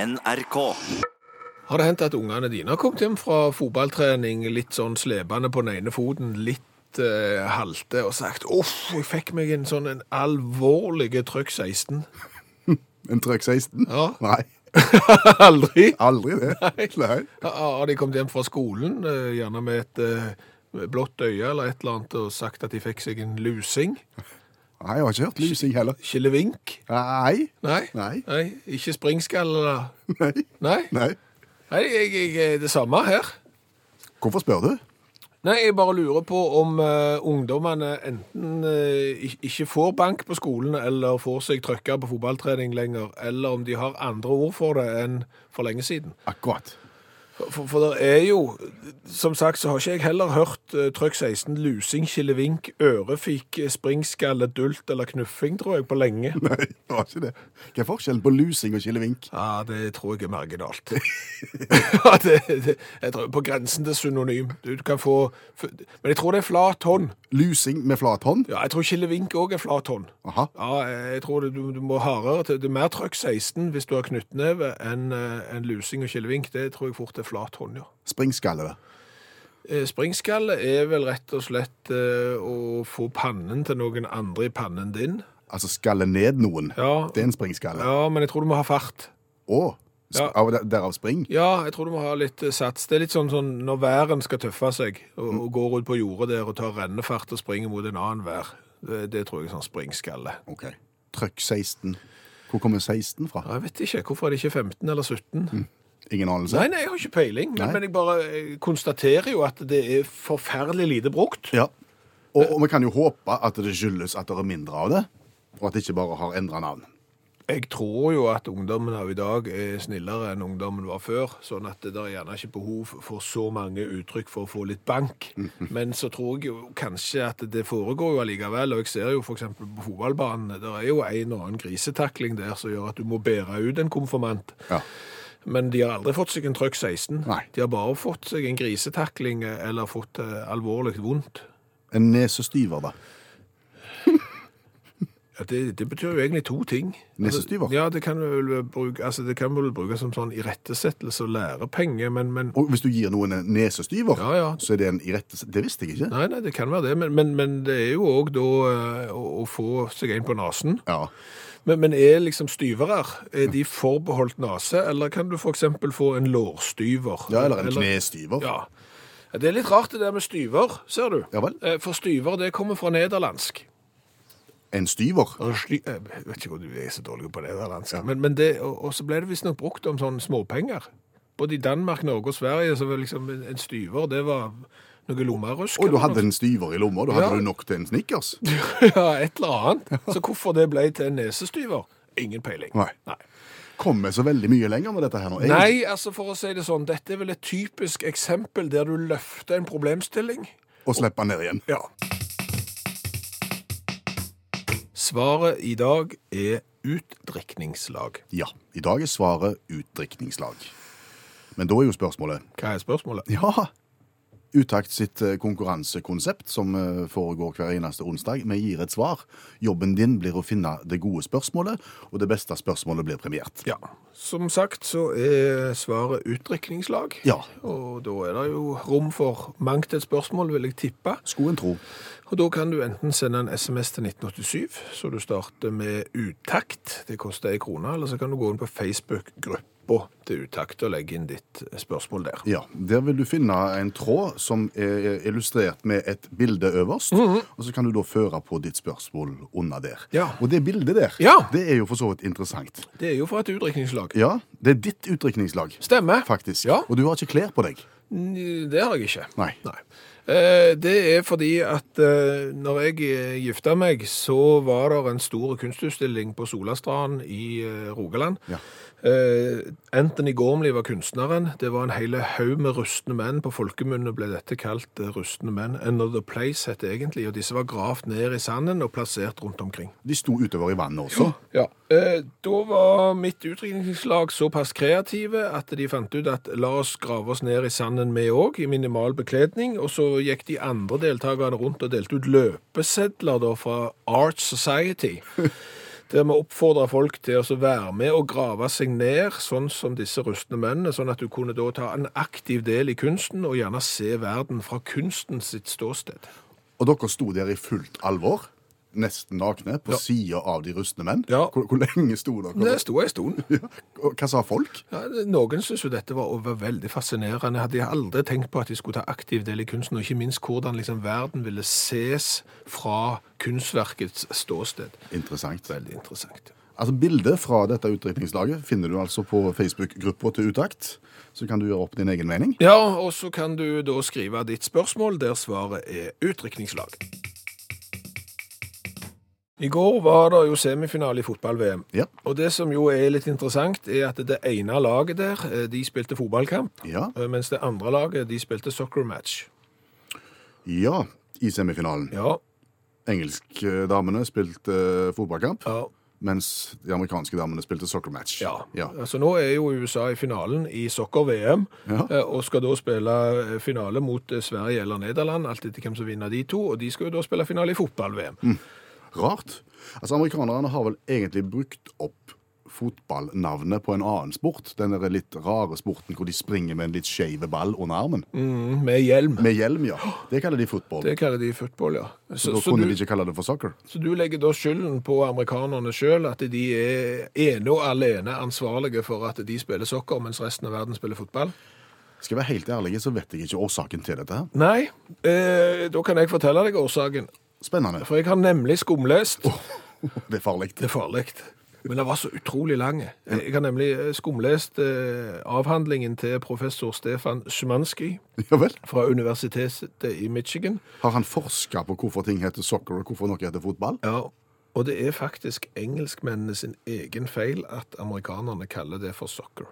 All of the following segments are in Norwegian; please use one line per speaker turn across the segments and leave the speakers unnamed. NRK.
Har det hendt at ungene dine har kommet hjem fra fotballtrening litt sånn slepende på den ene foten, litt eh, halte, og sagt 'uff, jeg fikk meg en sånn en alvorlig trøkk 16'?
En trøkk 16?
Ja.
Nei,
Aldri?
aldri det. Nei.
Har har de kommet hjem fra skolen, eh, gjerne med et eh, blått øye eller et eller annet, og sagt at de fikk seg en lusing?
Nei, jeg har ikke hørt lusing heller.
Skillevink?
Nei.
Nei.
Nei.
Nei. Ikke springskaller?
Nei.
Nei.
Nei.
Nei, jeg, jeg, er det samme her.
Hvorfor spør du?
Nei, jeg bare lurer på om eh, ungdommene enten eh, ik- ikke får bank på skolen, eller får seg trøkka på fotballtrening lenger, eller om de har andre ord for det enn for lenge siden.
Akkurat.
For, for, for det er jo, som sagt, så har ikke jeg heller hørt eh, trøkk 16, lusing, skillevink, ørefik, eh, springskalle, dult eller knuffing, tror jeg, på lenge.
Nei, det var ikke det. Hva er forskjellen på lusing og skillevink?
Ja, det tror jeg er marginalt. ja, det, det, jeg tror på grensen til synonym. Du, du kan få, f- men jeg tror det er flat hånd.
Lusing med flat hånd?
Ja, jeg tror Killevink òg er flat hånd.
Aha.
Ja, jeg tror det, du, du må hardere til. Det er mer trøkk 16 hvis du har knyttneve enn eh, enn lusing og killevink. Det tror jeg fort er flat hånd, ja.
Springskalle, da.
Eh, Springskalle er vel rett og slett eh, å få pannen til noen andre i pannen din.
Altså skalle ned noen.
Ja.
Det er en springskalle.
Ja, men jeg tror du må ha fart.
Å, sp
Ja.
av- derav spring?
Ja, jeg tror du må ha litt eh, sats. Det er litt sånn, sånn når væren skal tøffe seg, og, og går ut på jordet der og tar rennefart og springer mot en annen vær. Det, det tror jeg er sånn springskalle.
Ok. Trøkk 16. Hvor kommer 16 fra?
Ja, Jeg vet ikke. Hvorfor er det ikke 15 eller 17?
Ingen anelse.
Nei, nei, jeg har ikke peiling, men,
Nei.
men jeg bare eh, konstaterer jo at det er forferdelig lite brukt.
Ja. Og, og vi kan jo håpe at det skyldes at det er mindre av det, og at det ikke bare har endra navn.
Jeg tror jo at ungdommen av i dag er snillere enn ungdommen var før, sånn at det der er gjerne ikke behov for så mange uttrykk for å få litt bank. Men så tror jeg jo kanskje at det foregår jo allikevel, og jeg ser jo f.eks. på fotballbanen, der er jo en og annen grisetakling der som gjør at du må bære ut en konfirmant.
Ja.
Men de har aldri fått seg en trøkk 16.
Nei.
De har bare fått seg en grisetakling eh, eller fått eh, alvorlig vondt.
En nesestyver, da.
Ja, det, det betyr jo egentlig to ting.
Nesestyver?
Altså, ja, det kan vel bruke, altså, det kan vel bruke som sånn irettesettelse og lærepenge, men, men
Og hvis du gir noen en nesestyver,
Ja, ja.
så er det en irettesett Det visste jeg ikke.
Nei, nei, det kan være det, men, men, men det er jo òg da eh, å, å få seg en på nesen.
Ja.
Men, men er liksom styvere, er de forbeholdt nese, eller kan du f.eks. få en lårstyver?
ja, eller en knestyver.
Ja. Ja, Det er litt rart det der med styver, ser du.
Ja vel.
Eh, For styver, det kommer fra nederlandsk.
En styver.
Og sli- eh, Jeg vet ikke hvor du er så dårlig på nederlandsk. Men, men det, og, og så ble det visstnok brukt om sånne småpenger. Både i Danmark, Norge og Sverige så var liksom en, en styver det var noe lommerusk.
Og du
eller
hadde
noe.
en styver i lomma. Da
Ja.
hadde du nok til en snickers.
Ja, et eller annet. Så hvorfor det ble til en nesestyver? Ingen peiling.
Nei.
Nei.
Kommer så veldig mye lenger med dette her nå. egentlig.
Nei, altså for å si det sånn, dette er vel et typisk eksempel der du løfter en problemstilling.
Og slippe den ned igjen.
Ja. Svaret i dag er utdrikningslag.
Ja. I dag er svaret utdrikningslag. Men da er jo spørsmålet
Hva er spørsmålet?
Ja. Utakt sitt eh, konkurransekonsept som eh, foregår hver eneste onsdag. Vi gir et svar. Jobben din blir å finne det gode spørsmålet, og det beste spørsmålet blir premiert.
Ja, som sagt så er svaret utdrikningslag.
Ja.
Og da er det jo rom for mangt et spørsmål, vil jeg tippe.
Skulle en tro.
Og da kan du enten sende en sms til 1987, så du starter med utakt, det koster ei krone, eller så kan du gå inn på Facebook-gruppa til utakt og legge inn ditt spørsmål der.
Ja, Der vil du finne en tråd som er illustrert med et bilde øverst. Og så kan du da føre på ditt spørsmål under der.
Mhm. Ja.
Og det bildet der,
Ja.
det er jo for så vidt interessant.
Det er jo fra et utdrikningslag.
Ja, Det er ditt utdrikningslag,
Stemmer.
faktisk.
Ja.
Og du har ikke klær på deg.
N- Det har jeg ikke.
Nei.
Eh, Det er fordi at eh, når jeg eh, gifta meg, så var det en stor kunstutstilling på Solastrand i eh, Rogaland.
Ja.
Eh, Anthony Gormley var kunstneren. Det var en hele haug med rustne menn. På folkemunne ble dette kalt eh, rustne menn. Another Place het det egentlig, og disse var gravd ned i sanden og plassert rundt omkring.
De sto utover i vannet også.
Ja, eh, Da var mitt utdrikningslag såpass kreative at de fant ut at la oss grave oss ned i sanden vi òg, i minimal bekledning. Og så gikk de andre deltakerne rundt og delte ut løpesedler da fra Art Society. der vi oppfordra folk til å så være med og grave seg ned, sånn som disse rustne mennene, sånn at du kunne da ta en aktiv del i kunsten, og gjerne se verden fra kunsten sitt ståsted.
Og dere sto der i fullt alvor, nesten nakne, på
Ja.
siden sida av de rustne menn.
Ja.
Hvor, hvor lenge sto dere?
Det sto en stund.
Ja. Og Hva sa folk?
Ja, noen syntes jo dette var, var veldig fascinerende. Hadde jeg aldri tenkt på at de skulle ta aktiv del i kunsten, og ikke minst hvordan liksom, verden ville ses fra kunstverkets ståsted.
Interessant.
Veldig interessant.
Altså Bildet fra dette utdrikningslaget finner du altså på Facebook-gruppa til Utakt. Så kan du gjøre opp din egen mening.
Ja, og så kan du da skrive ditt spørsmål, der svaret er utdrikningslag. I går var det jo semifinale i fotball-VM.
Ja.
Og det som jo er litt interessant, er at det ene laget der, eh, de spilte fotballkamp,
Ja.
eh, mens det andre laget, de spilte soccer match.
ja. I semifinalen.
Ja,
Engelskdamene spilte eh, fotballkamp,
ja.
mens de amerikanske damene spilte soccer match.
Ja. Altså, nå er jo USA i finalen i soccer-VM,
Ja.
eh, og skal da spille eh, finale mot eh, Sverige eller Nederland, alt etter hvem som vinner de to, og de skal jo da spille finale i fotball-VM.
Mm. Rart. Altså, Amerikanerne har vel egentlig brukt opp fotballnavnet på en annen sport. Den der litt rare sporten hvor de springer med en litt skeive ball under armen.
Mm, med hjelm.
Med hjelm, ja. Det kaller de fotball.
Det kaller de football, ja. Så,
Da
så,
kunne
du,
de ikke kalle det for soccer.
så du legger da skylden på amerikanerne sjøl, at de er ene og alene ansvarlige for at de spiller soccer, mens resten av verden spiller fotball?
Skal jeg være helt ærlig, så vet jeg ikke årsaken til dette. her.
Nei, eh, da kan jeg fortelle deg årsaken.
Spennende.
For jeg har nemlig skumlest.
Det er farlig.
Det er farlig. Men den var så utrolig lang. Jeg har nemlig eh, skumlest eh, avhandlingen til professor Stefan Szymanski
Ja vel.
fra Universitetet i Michigan.
Har han forska på hvorfor ting heter soccer, og hvorfor noe heter fotball?
Ja, og det er faktisk engelskmennene sin egen feil at amerikanerne kaller det for soccer.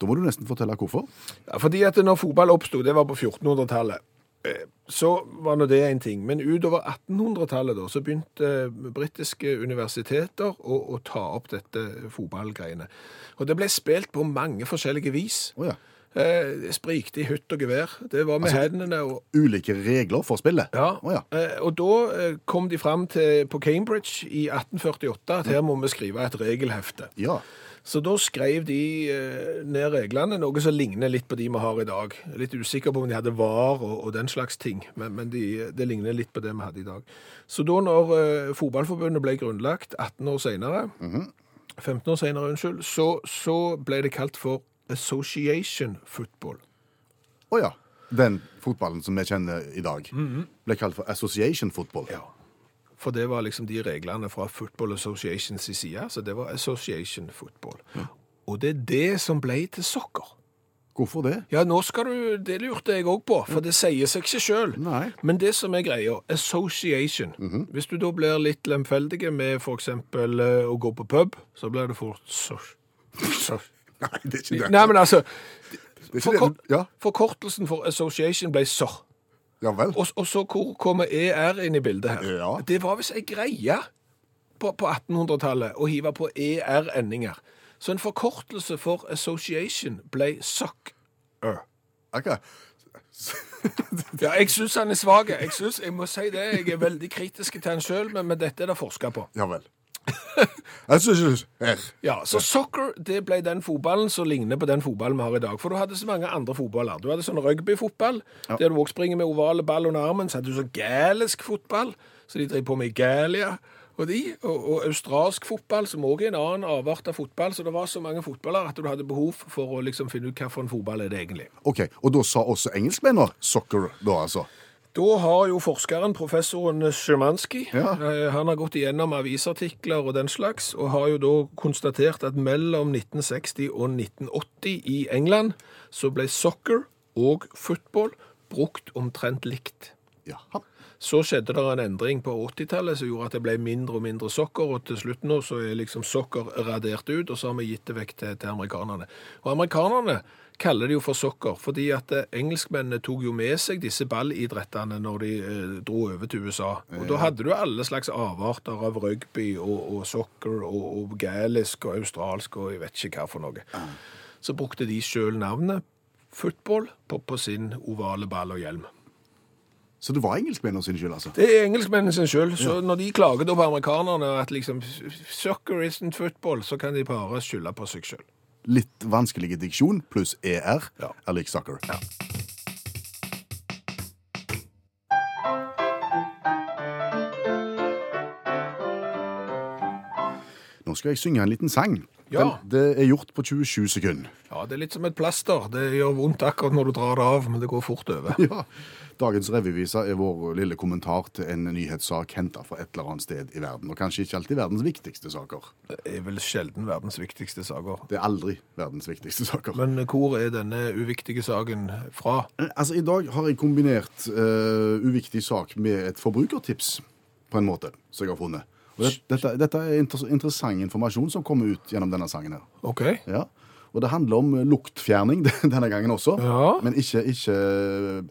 Da må du nesten fortelle hvorfor.
Ja, fordi at når fotball oppsto, det var på 1400-tallet, eh, så var nå det en ting. Men utover 1800-tallet da, så begynte eh, britiske universiteter å, å ta opp dette fotballgreiene. Og det ble spilt på mange forskjellige vis.
Å ja.
Eh, det sprikte i hytt og gevær. Det var med hendene og
Ulike regler for spillet.
ja.
Altså- Å ja.
Eh, og da eh, kom de fram til, på Cambridge i 1848 at her må vi skrive et regelhefte.
Ja.
Så da skrev de eh, ned reglene, noe som ligner litt på de vi har i dag. Jeg er Litt usikker på om de hadde var og, og den slags ting, men, men de, det ligner litt på det vi hadde i dag. Så da når eh, fotballforbundet ble grunnlagt 18 år senere,
Mhm.
15 år senere, unnskyld, så, så ble det kalt for association football.
Å ja. Den fotballen som vi kjenner i dag, ble kalt for association football.
Ja. For det var liksom de reglene fra Football Associations side, så det var association football. Og det er det som ble til sokker.
Hvorfor det?
Ja, nå skal du, det lurte jeg òg på, for det sier seg ikke sjøl.
Nei. Mhm.
Men det som er greia, association Hvis du da blir litt lemfeldig med f.eks. å gå på pub, så blir det fort so so
Nei, det er ikke det.
Nei, men altså,
det, er ikke det.
forkort,
du- Ja,
forkortelsen for association ble sor.
ja vel.
Og, og så hvor kommer ER inn i bildet her?
Ja.
Det var visst ei greie på, på 1800-tallet å hive på ER-endinger. Så en forkortelse for association ble SOC-er.
Ok.
Ja, jeg syns han er svak. Jeg synes, jeg må si det, jeg er veldig kritisk til han sjøl, men, men dette er det forska på.
Ja vel. Association her.
Ja, Så soccer det ble den fotballen som ligner på den fotballen vi har i dag. For du hadde så mange andre fotballer. Du hadde sånn rugbyfotball, der du òg springer med ovale ball under armen. Så hadde du sånn galisk fotball, som de driver på med i Galia. Og, de, og, og australsk fotball, som òg er en annen avart av fotball. Så det var så mange fotballer at du hadde behov for å liksom finne ut hvilken fotball er det egentlig.
Ok, Og da sa også engelskmennene soccer, da altså.
Da har jo forskeren, professoren Szymanski,
Ja.
eh, han har gått igjennom avisartikler og den slags, og har jo da konstatert at mellom 1960 og 1980 i England så ble soccer og football brukt omtrent likt.
Jaha.
Så skjedde det en endring på 80-tallet som gjorde at det ble mindre og mindre sokker, og til slutt nå så er liksom sokker radert ut, og så har vi gitt det vekk til, til amerikanerne. Og amerikanerne kaller det jo for sokker, fordi at eh, engelskmennene tok jo med seg disse ballidrettene når de eh, dro over til USA. Og da hadde du alle slags avarter av rugby og, og soccer og, og galisk og australsk og jeg vet ikke hva for noe. Så brukte de sjøl navnet football på, på sin ovale ball og hjelm.
Så det var engelskmennene sin skyld, altså?
Det er engelskmennene sin skyld. Så når de klager da på amerikanerne at liksom soccer isn't football, så kan de bare skylde på seg sjøl.
Litt vanskelig diksjon pluss ER
Ja.
er lik soccer. Nå skal jeg synge en liten sang.
Ja.
Den, det er gjort på 27 sekunder.
Ja, det er litt som et plaster. Det gjør vondt akkurat når du drar det av, men det går fort over.
Ja. Dagens revyvise er vår lille kommentar til en nyhetssak henta fra et eller annet sted i verden. Og kanskje ikke alltid verdens viktigste saker.
Det er vel sjelden verdens viktigste saker.
Det er aldri verdens viktigste saker.
Men hvor er denne uviktige saken fra?
Altså, I dag har jeg kombinert eh, uviktig sak med et forbrukertips, på en måte, som jeg har funnet. Og det, dette, dette er inter interessant informasjon som kommer ut gjennom denne sangen her.
OK.
Ja. Og det handler om luktfjerning denne gangen også,
Ja.
men ikke, ikke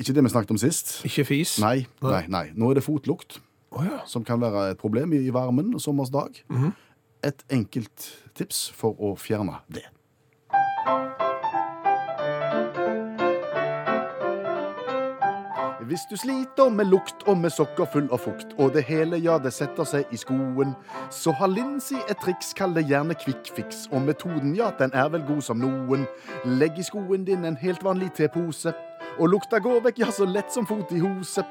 Ikke det vi snakket om sist.
Ikke fis?
Nei, nei, nei. Nå er det fotlukt,
Å ja.
som kan være et problem i varmen og sommersdag.
Mhm.
Et enkelt tips for å fjerne det. Hvis du sliter med lukt og med sokker full av fukt, og det hele, ja, det setter seg i skoen, så har Lindsay et triks, kall det gjerne Quick Fix, og metoden, ja, den er vel god som noen. Legg i skoen din en helt vanlig tepose, og lukta går vekk, ja, så lett som fot i hose.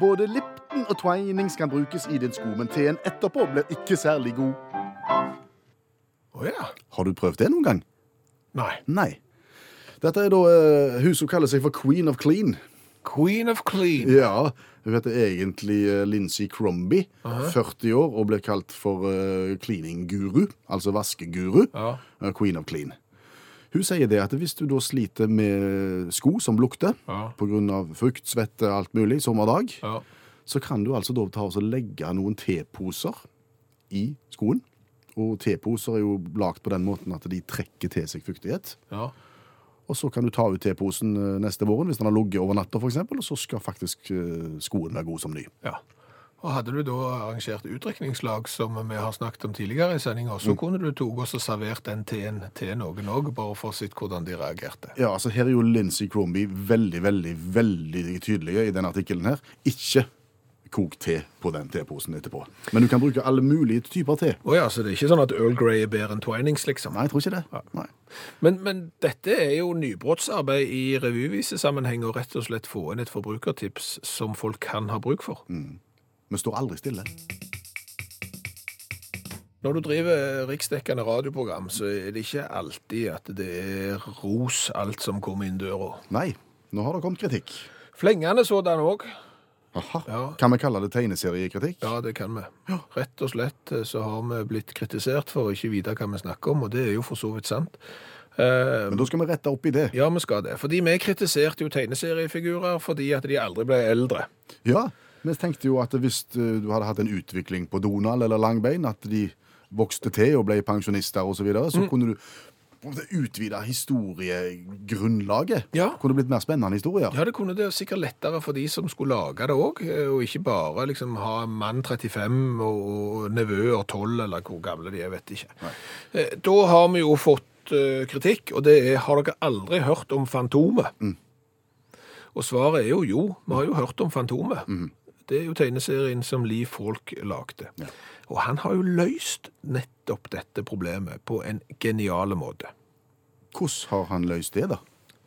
Både Lipton og Twinings kan brukes i din sko, men teen etterpå blir ikke særlig god.
Å ja.
Har du prøvd det noen gang?
Nei.
Nei. Dette er da eh, hun som kaller seg for Queen of Clean.
Queen of clean.
Ja, hun heter egentlig eh, Lindsay Crombie, 40 år, og ble kalt for eh, cleaning-guru, altså vaskeguru,
Ja.
eh, queen of clean. Hun sier det at hvis du da sliter med sko som lukter,
Ja.
på grunn av fukt, svette, alt mulig, sommerdag,
Ja.
så kan du altså da ta og så legge noen teposer i skoen. Og teposer er jo lagt på den måten at de trekker til seg fuktighet.
ja.
Og så kan du ta ut teposen eh, neste våren hvis den har ligget over natta, f.eks., og så skal faktisk eh, skoen være god som ny.
ja. Og hadde du da arrangert utdrikningslag, som vi har snakket om tidligere i sendinga, så kunne du tog og så servert den teen til noen òg, bare for å se hvordan de reagerte.
Ja, altså Her er jo Lindsey Crombie veldig veldig, veldig tydelige i den artikkelen. her. Ikke kok te på den teposen etterpå. Men du kan bruke alle mulige typer te.
Å ja, så det er ikke sånn at Earl Grey er bedre enn Twinings, liksom.
Nei, jeg tror ikke det. Nei.
Men, men dette er jo nybrottsarbeid i revyvisesammenheng, og rett og slett få inn et forbrukertips som folk kan ha bruk for.
Vi står aldri stille.
Når du driver riksdekkende radioprogram, så er det ikke alltid at det er ros alt som kommer inn døra.
Nei, nå har det kommet kritikk.
Flengende sådan òg.
Aha.
Ja.
Kan vi kalle det tegneseriekritikk?
Ja, det kan vi. Rett og slett eh, så har vi blitt kritisert for å ikke vite hva vi snakker om, og det er jo for så vidt sant. Eh,
Men da skal vi rette opp i det.
ja, vi skal det. Fordi vi kritiserte jo tegneseriefigurer fordi at de aldri ble eldre.
Ja, Vi tenkte jo at hvis eh, du hadde hatt en utvikling på Donald eller Langbein, at de vokste til og ble pensjonister osv., så, videre,
Mm.
så kunne du på en måte utvide historiegrunnlaget.
Ja.
Kunne blitt mer spennende historier.
Ja, det kunne det sikkert lettere for de som skulle lage det òg, og ikke bare liksom ha mann 35 og og nevøer 12, eller hvor gamle de er, vet ikke. Eh, Da har vi jo fått eh, kritikk, og det er har dere aldri hørt om Fantomet? Og svaret er jo jo, vi har jo hørt om Fantomet. Det er jo tegneserien som Liv Folk lagde. Og han har jo løst nettopp dette problemet på en genial måte.
Hvordan har han løst det, da?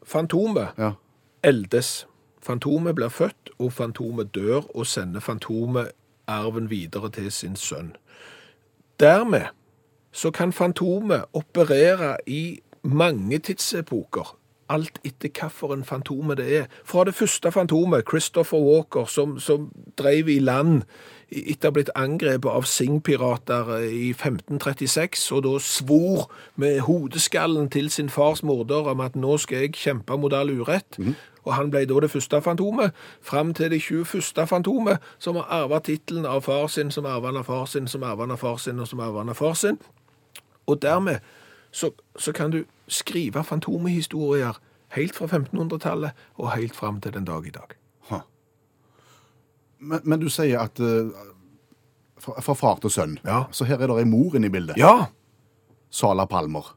Fantomet
Ja.
eldes. Fantomet blir født, og fantomet dør, og sender fantomet arven videre til sin sønn. Dermed så kan fantomet operere i mange tidsepoker, alt etter hvilket fantomet det er. Fra det første fantomet, Christopher Walker, som, som drev i land etter å ha blitt angrepet av Sing-pirater i 1536, og da svor med hodeskallen til sin fars morder om at nå skal jeg kjempe mot all urett. Og han ble da det første fantomet, fram til det 21. fantomet, som har arva tittelen av far sin, som arva den av far sin, som arva den av far sin, og som arva den av far sin. Og dermed så, så kan du skrive fantomhistorier helt fra 1500-tallet og helt fram til den dag i dag.
Ha. Men, men du sier at eh, fra, fra far til sønn.
Ja.
Så her er det ei mor inne i bildet.
Ja!
Sala Palmer.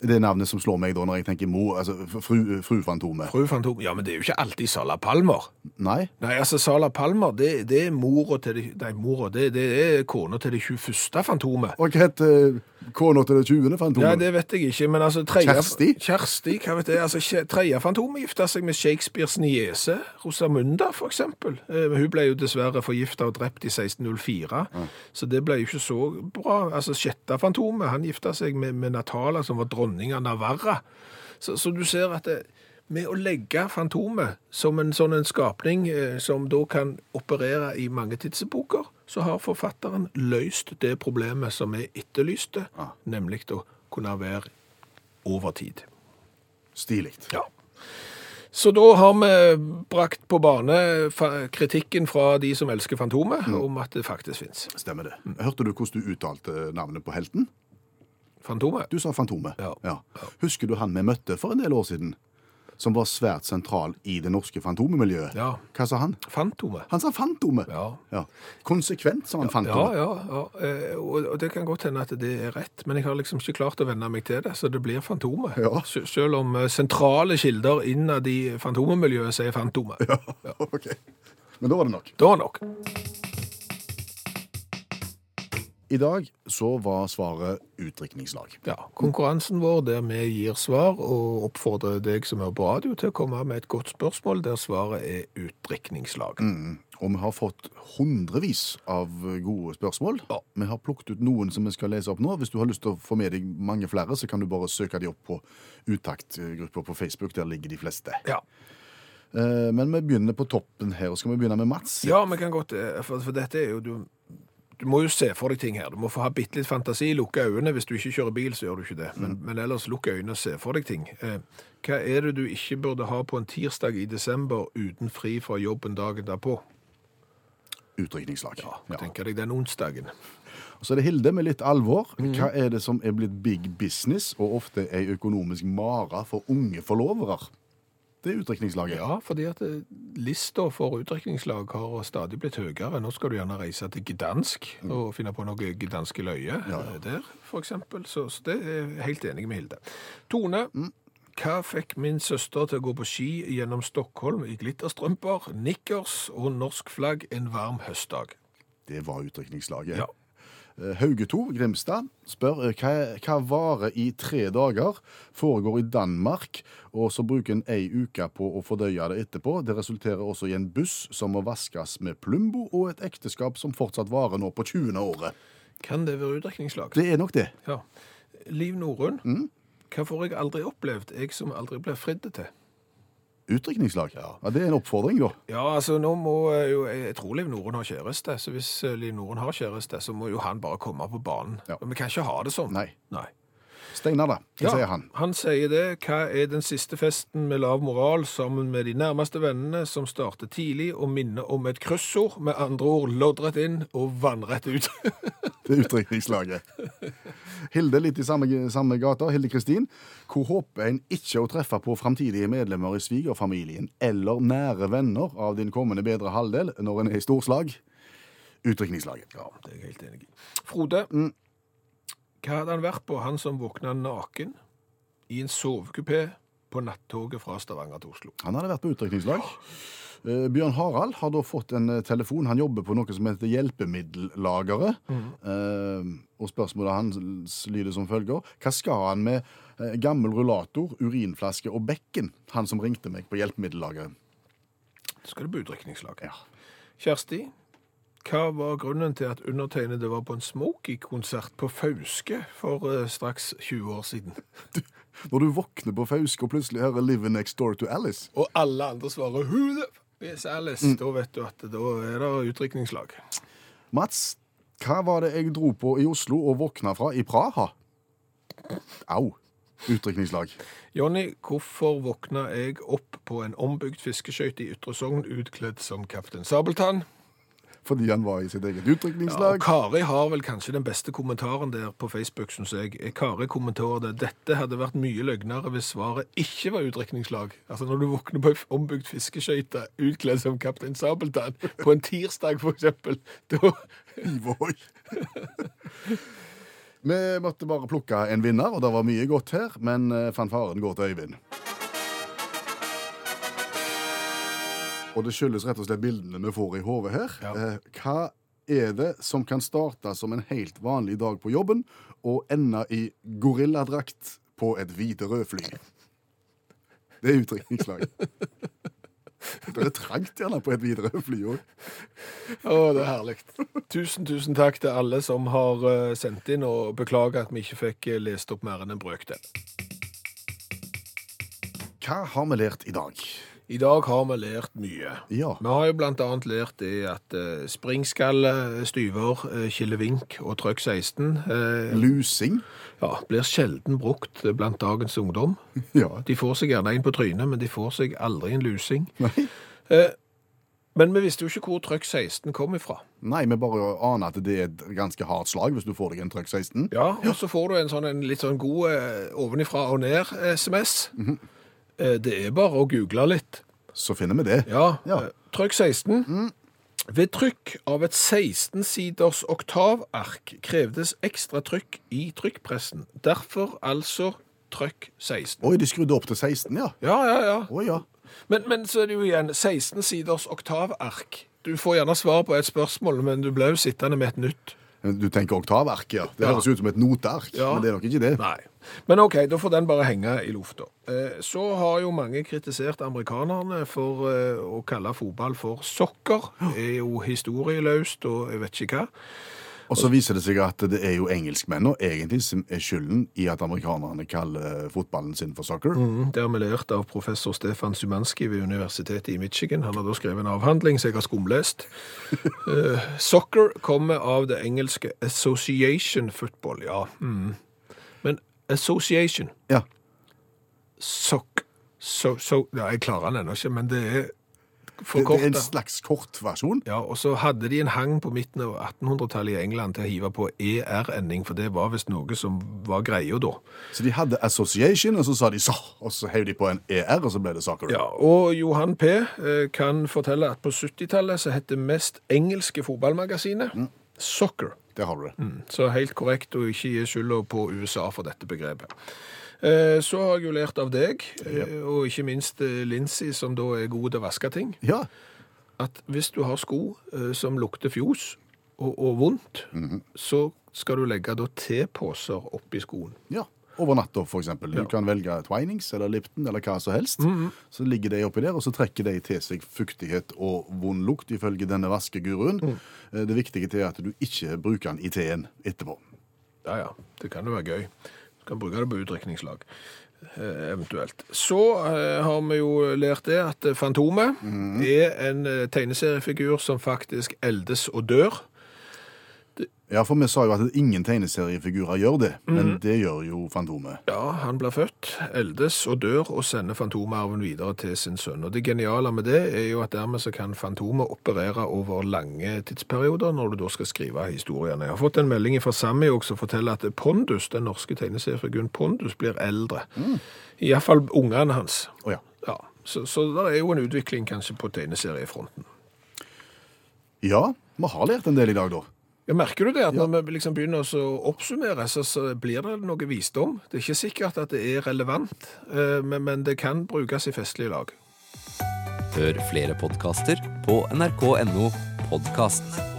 Det er navnet som slår meg da når jeg tenker mor, altså fru, fru Fantomet.
Fru Fantom, ja, men det er jo ikke alltid Sala Palmer.
Nei?
Nei, altså Sala Palmer, det, det er mora til det, nei, mora, det, det er kona til det 21. Fantomet.
Og hva heter kona til det 20.
Ja,
Fantomet?
det vet jeg ikke, men altså tredje-
Kjersti?
Kjersti, hva vet jeg, altså kje- tredje Fantomet gifta seg med Shakespeares niese, Rosamunda, for eksempel. Eh, men Hun ble jo dessverre forgifta og drept i 1604, så det ble jo ikke så bra. Altså sjette Fantomet, han gifta seg med, med Natala, som var dronning av Navarra. Så, så du ser at det, med å legge Fantomet som en sånn en skapning eh, som da kan operere i mange tidsepoker, så har forfatteren løst det problemet som vi etterlyste, nemlig å kunne være over tid.
Stilig.
Ja. Så da har vi brakt på bane fa- kritikken fra de som elsker Fantomet, om at det faktisk fins.
Stemmer det. Hørte du hvordan du uttalte navnet på helten?
Fantomet?
Du sa Fantomet.
Ja.
Husker du han vi møtte for en del år siden? Som var svært sentral i det norske fantomemiljøet.
Ja.
Hva sa han?
Fantomet.
Han sa Fantomet!
Ja.
Ja. Konsekvent sa han
Ja,
Fantomet.
ja, ja. Eh, Og og det kan godt hende at det er rett, men jeg har liksom ikke klart å venne meg til det, så det blir Fantomet.
Ja.
S- Selv om eh, sentrale kilder innad i Fantomemiljøet sier Fantomet.
Ok. Men da var det nok.
Da nok.
I dag så var svaret utdrikningslag.
Ja, Konkurransen vår der vi gir svar og oppfordrer deg som hører på radio til å komme med et godt spørsmål der svaret er utdrikningslag.
Og vi har fått hundrevis av gode spørsmål.
Ja.
Vi har plukket ut noen som vi skal lese opp nå. Hvis du har lyst til å få med deg mange flere, så kan du bare søke de opp på Utakt-gruppa på Facebook. Der ligger de fleste.
Ja.
Eh, Men vi begynner på toppen her. og Skal vi begynne med Mats?
Ja, vi kan godt eh, For, for dette er jo du, du må jo se for deg ting her. Du må få ha bitte litt fantasi. Lukke øynene. Hvis du ikke kjører bil, så gjør du ikke det. Men, men ellers lukk øynene og se for deg ting. Eh, hva er det du ikke burde ha på en tirsdag i desember uten fri fra jobben dagen derpå?
Utdrikningslag. Ja.
Tenker deg den onsdagen.
Og Så er det Hilde med litt alvor.
Mhm.
Hva er det som er blitt big business, og ofte ei økonomisk mare for unge forlovere? Det er utdrikningslaget.
Ja, fordi at eh, lista for utdrikningslag har stadig blitt høyere. Nå skal du gjerne reise til Gdansk og finne på noe gdanske løye eh, der, for eksempel. Så, så det er jeg helt enig med Hilde. Tone, hva fikk min søster til å gå på ski gjennom Stockholm i glitterstrømper, nikkers og norsk flagg en varm høstdag?
Det var utdrikningslaget.
Ja.
Eh, Hauge 2, Grimstad, spør eh, hva, hva varer i tre dager, foregår i Danmark, og så bruker en ei uke på å fordøye det etterpå. Det resulterer også i en buss som må vaskes med Plumbo, og et ekteskap som fortsatt varer nå på 20. året.
Kan det være utdrikningslag?
Det er nok det.
Ja. Liv Norun, hva får jeg aldri opplevd, jeg som aldri ble fridd til?
Utdrikningslag. Ja. det er en oppfordring, da.
Ja, altså nå må eh, jo Jeg jeg tror Liv Noren har kjæreste, så hvis eh, Liv Noren har kjæreste, så må jo han bare komme på banen.
Ja.
Men vi kan ikke ha det sånn.
Nei. Steinar, da. Hva
Ja,
sier han?
Han sier det. Hva er den siste festen med lav moral sammen med de nærmeste vennene som starter tidlig og minner om et kryssord? Med andre ord loddrett inn og vannrett ut.
Det er utdrikningslaget. Hilde litt i samme, samme gata, Hilde Kristin. Hvor håper en ikke å treffe på framtidige medlemmer i svigerfamilien eller nære venner av din kommende bedre halvdel når en er i storslag? Utdrikningslaget.
ja, det er jeg helt enig i. Frode,
Mm.
hva hadde han vært på, han som våkna naken i en sovekupé på nattoget fra Stavanger til Oslo?
Han hadde vært på utdrikningslag. Eh, Bjørn Harald har da fått en eh, telefon. Han jobber på noe som heter Hjelpemiddellageret. Eh, og spørsmålet hans lyder som følger. Hva skal han med eh, gammel rullator, urinflaske og bekken? Han som ringte meg på Hjelpemiddellageret.
Så skal det bli utdrikningslag.
Ja.
Kjersti, hva var grunnen til at undertegnede var på en Smokey-konsert på Fauske for eh, straks 20 år siden?
Når du våkner på Fauske og plutselig hører 'Live Next Door to Alice'.
Og alle andre svarer «Who the f- is Alice?» Da vet du at da er det utdrikningslag.
Mats, hva var det jeg dro på i Oslo og våkna fra i Praha? Au. Utdrikningslag.
Jonny, hvorfor våkna jeg opp på en ombygd fiskeskøyte i Ytre Sogn utkledd som Kaptein Sabeltann?
Fordi han var i sitt eget
Ja, og
utdrikningslag.
Kari har vel kanskje den beste kommentaren der på Facebook, syns jeg. Kari kommenterer det. Dette hadde vært mye løgnere hvis svaret ikke var utdrikningslag. Altså når du våkner på ei ombygd fiskeskøyte utkledd som Kaptein Sabeltann på en tirsdag, for eksempel. Da
Ivoy. Vi måtte bare plukke en vinner, og det var mye godt her, men eh, fanfaren går til Øyvind. Og det skyldes rett og slett bildene vi får i hodet her.
Ja.
Eh, Hva er det som kan starte som en helt vanlig dag på jobben og ende i gorilladrakt på et hvite-rød fly? Det er utdrikningslaget. Det er trangt gjerne på et hvite-rød fly òg.
Å, det er herlig. Tusen, tusen takk til alle som har eh, sendt inn, og beklager at vi ikke fikk eh, lest opp mer enn en brøkdel.
Hva har vi lært i dag?
I dag har vi lært mye.
Ja.
Vi har jo blant annet lært det at eh, springskalle, styver, eh, killevink og trøkk 16 eh,
Lusing.
ja, blir sjelden brukt blant dagens ungdom.
Ja.
De får seg gjerne en på trynet, men de får seg aldri en lusing.
Nei.
Men vi visste jo ikke hvor trøkk 16 kom ifra.
Nei, vi bare aner at det er et ganske hardt slag hvis du får deg en trøkk 16.
Ja, og så får du en sånn en litt sånn god eh, ovenifra og ned-SMS. eh, det er bare å google litt.
Så finner vi det.
Ja,
Ja.
eh, trykk 16. Ved trykk av et 16-siders oktavark krevdes ekstra trykk i trykkpressen. Derfor altså trykk 16.
Oi, de skrudde opp til 16, ja.
Ja, ja, ja.
Å ja.
Men, men så er det jo igjen 16-siders oktavark. Du får gjerne svar på et spørsmål, men du blir jo sittende med et nytt.
Du tenker oktavark, ja. Det
Ja.
høres ut som et noteark,
Ja.
men det er nok ikke det.
Nei. Men OK, da får den bare henge i lufta. Eh, Så har jo mange kritisert amerikanerne for eh, å kalle fotball for sokker. Det er jo historieløst og jeg vet ikke hva.
Og så viser det seg at det er jo engelskmennene egentlig som er skylden i at amerikanerne kaller fotballen sin for soccer.
Mm, Det har vi lært av professor Stefan Symanski ved Universitetet i Michigan. Han har da skrevet en avhandling som jeg har skumlest. Eh, soccer kommer av det engelske association football, ja. Mm. Men association,
Ja.
sock, so, so, ja, jeg klarer den ennå ikke, men det er
Det, det er
forkortet.
en slags kortversjon.
Ja, og så hadde de en hang på midten av 1800-tallet i England til å hive på ER-ending, for det var visst noe som var greia da.
Så de hadde association, og så sa de så, og så heiv de på en ER, og så ble det soccer.
Ja, og Johan P. eh, kan fortelle at på 70-tallet så het det mest engelske fotballmagasinet Soccer.
Der har du det.
Mm, Så helt korrekt å ikke gi skylda på USA for dette begrepet. Eh, Så har jeg jo lært av deg, eh, og ikke minst eh, Lindsay, som da er god til å vaske ting,
Ja.
at hvis du har sko eh, som lukter fjos og, og vondt, så skal du legge da teposer oppi skoen.
Ja. Over natta, for eksempel. Du kan velge Twinings eller Lipton eller hva som helst. Så ligger de oppi der, og så trekker de til seg fuktighet og vond lukt, ifølge denne vaskeguruen. Eh, Det viktige er at du ikke bruker den i teen etterpå.
Ja, ja. Det kan jo være gøy. Du kan bruke det på utdrikningslag, eh, eventuelt. Så eh, har vi jo lært det at eh, Fantomet er en eh, tegneseriefigur som faktisk eldes og dør.
Ja, for vi sa jo at ingen tegneseriefigurer gjør det, men det gjør jo Fantomet.
Ja, han blir født, eldes og dør, og sender fantomarven videre til sin sønn. Og det geniale med det er jo at dermed så kan Fantomet operere over lange tidsperioder når du da skal skrive historiene. Jeg har fått en melding fra Sammy også, som forteller at Pondus, den norske tegneseriefiguren Pondus, blir eldre. Iallfall ungene hans.
Å ja.
Ja, så, så det er jo en utvikling kanskje på tegneseriefronten.
ja, vi har lært en del i dag, da.
Ja, merker du det? at Når vi liksom begynner å oppsummere, så, så blir det noe visdom. Det er ikke sikkert at det er relevant, eh, men, men det kan brukes i festlige lag.
Hør flere podkaster på nrk.no podkast.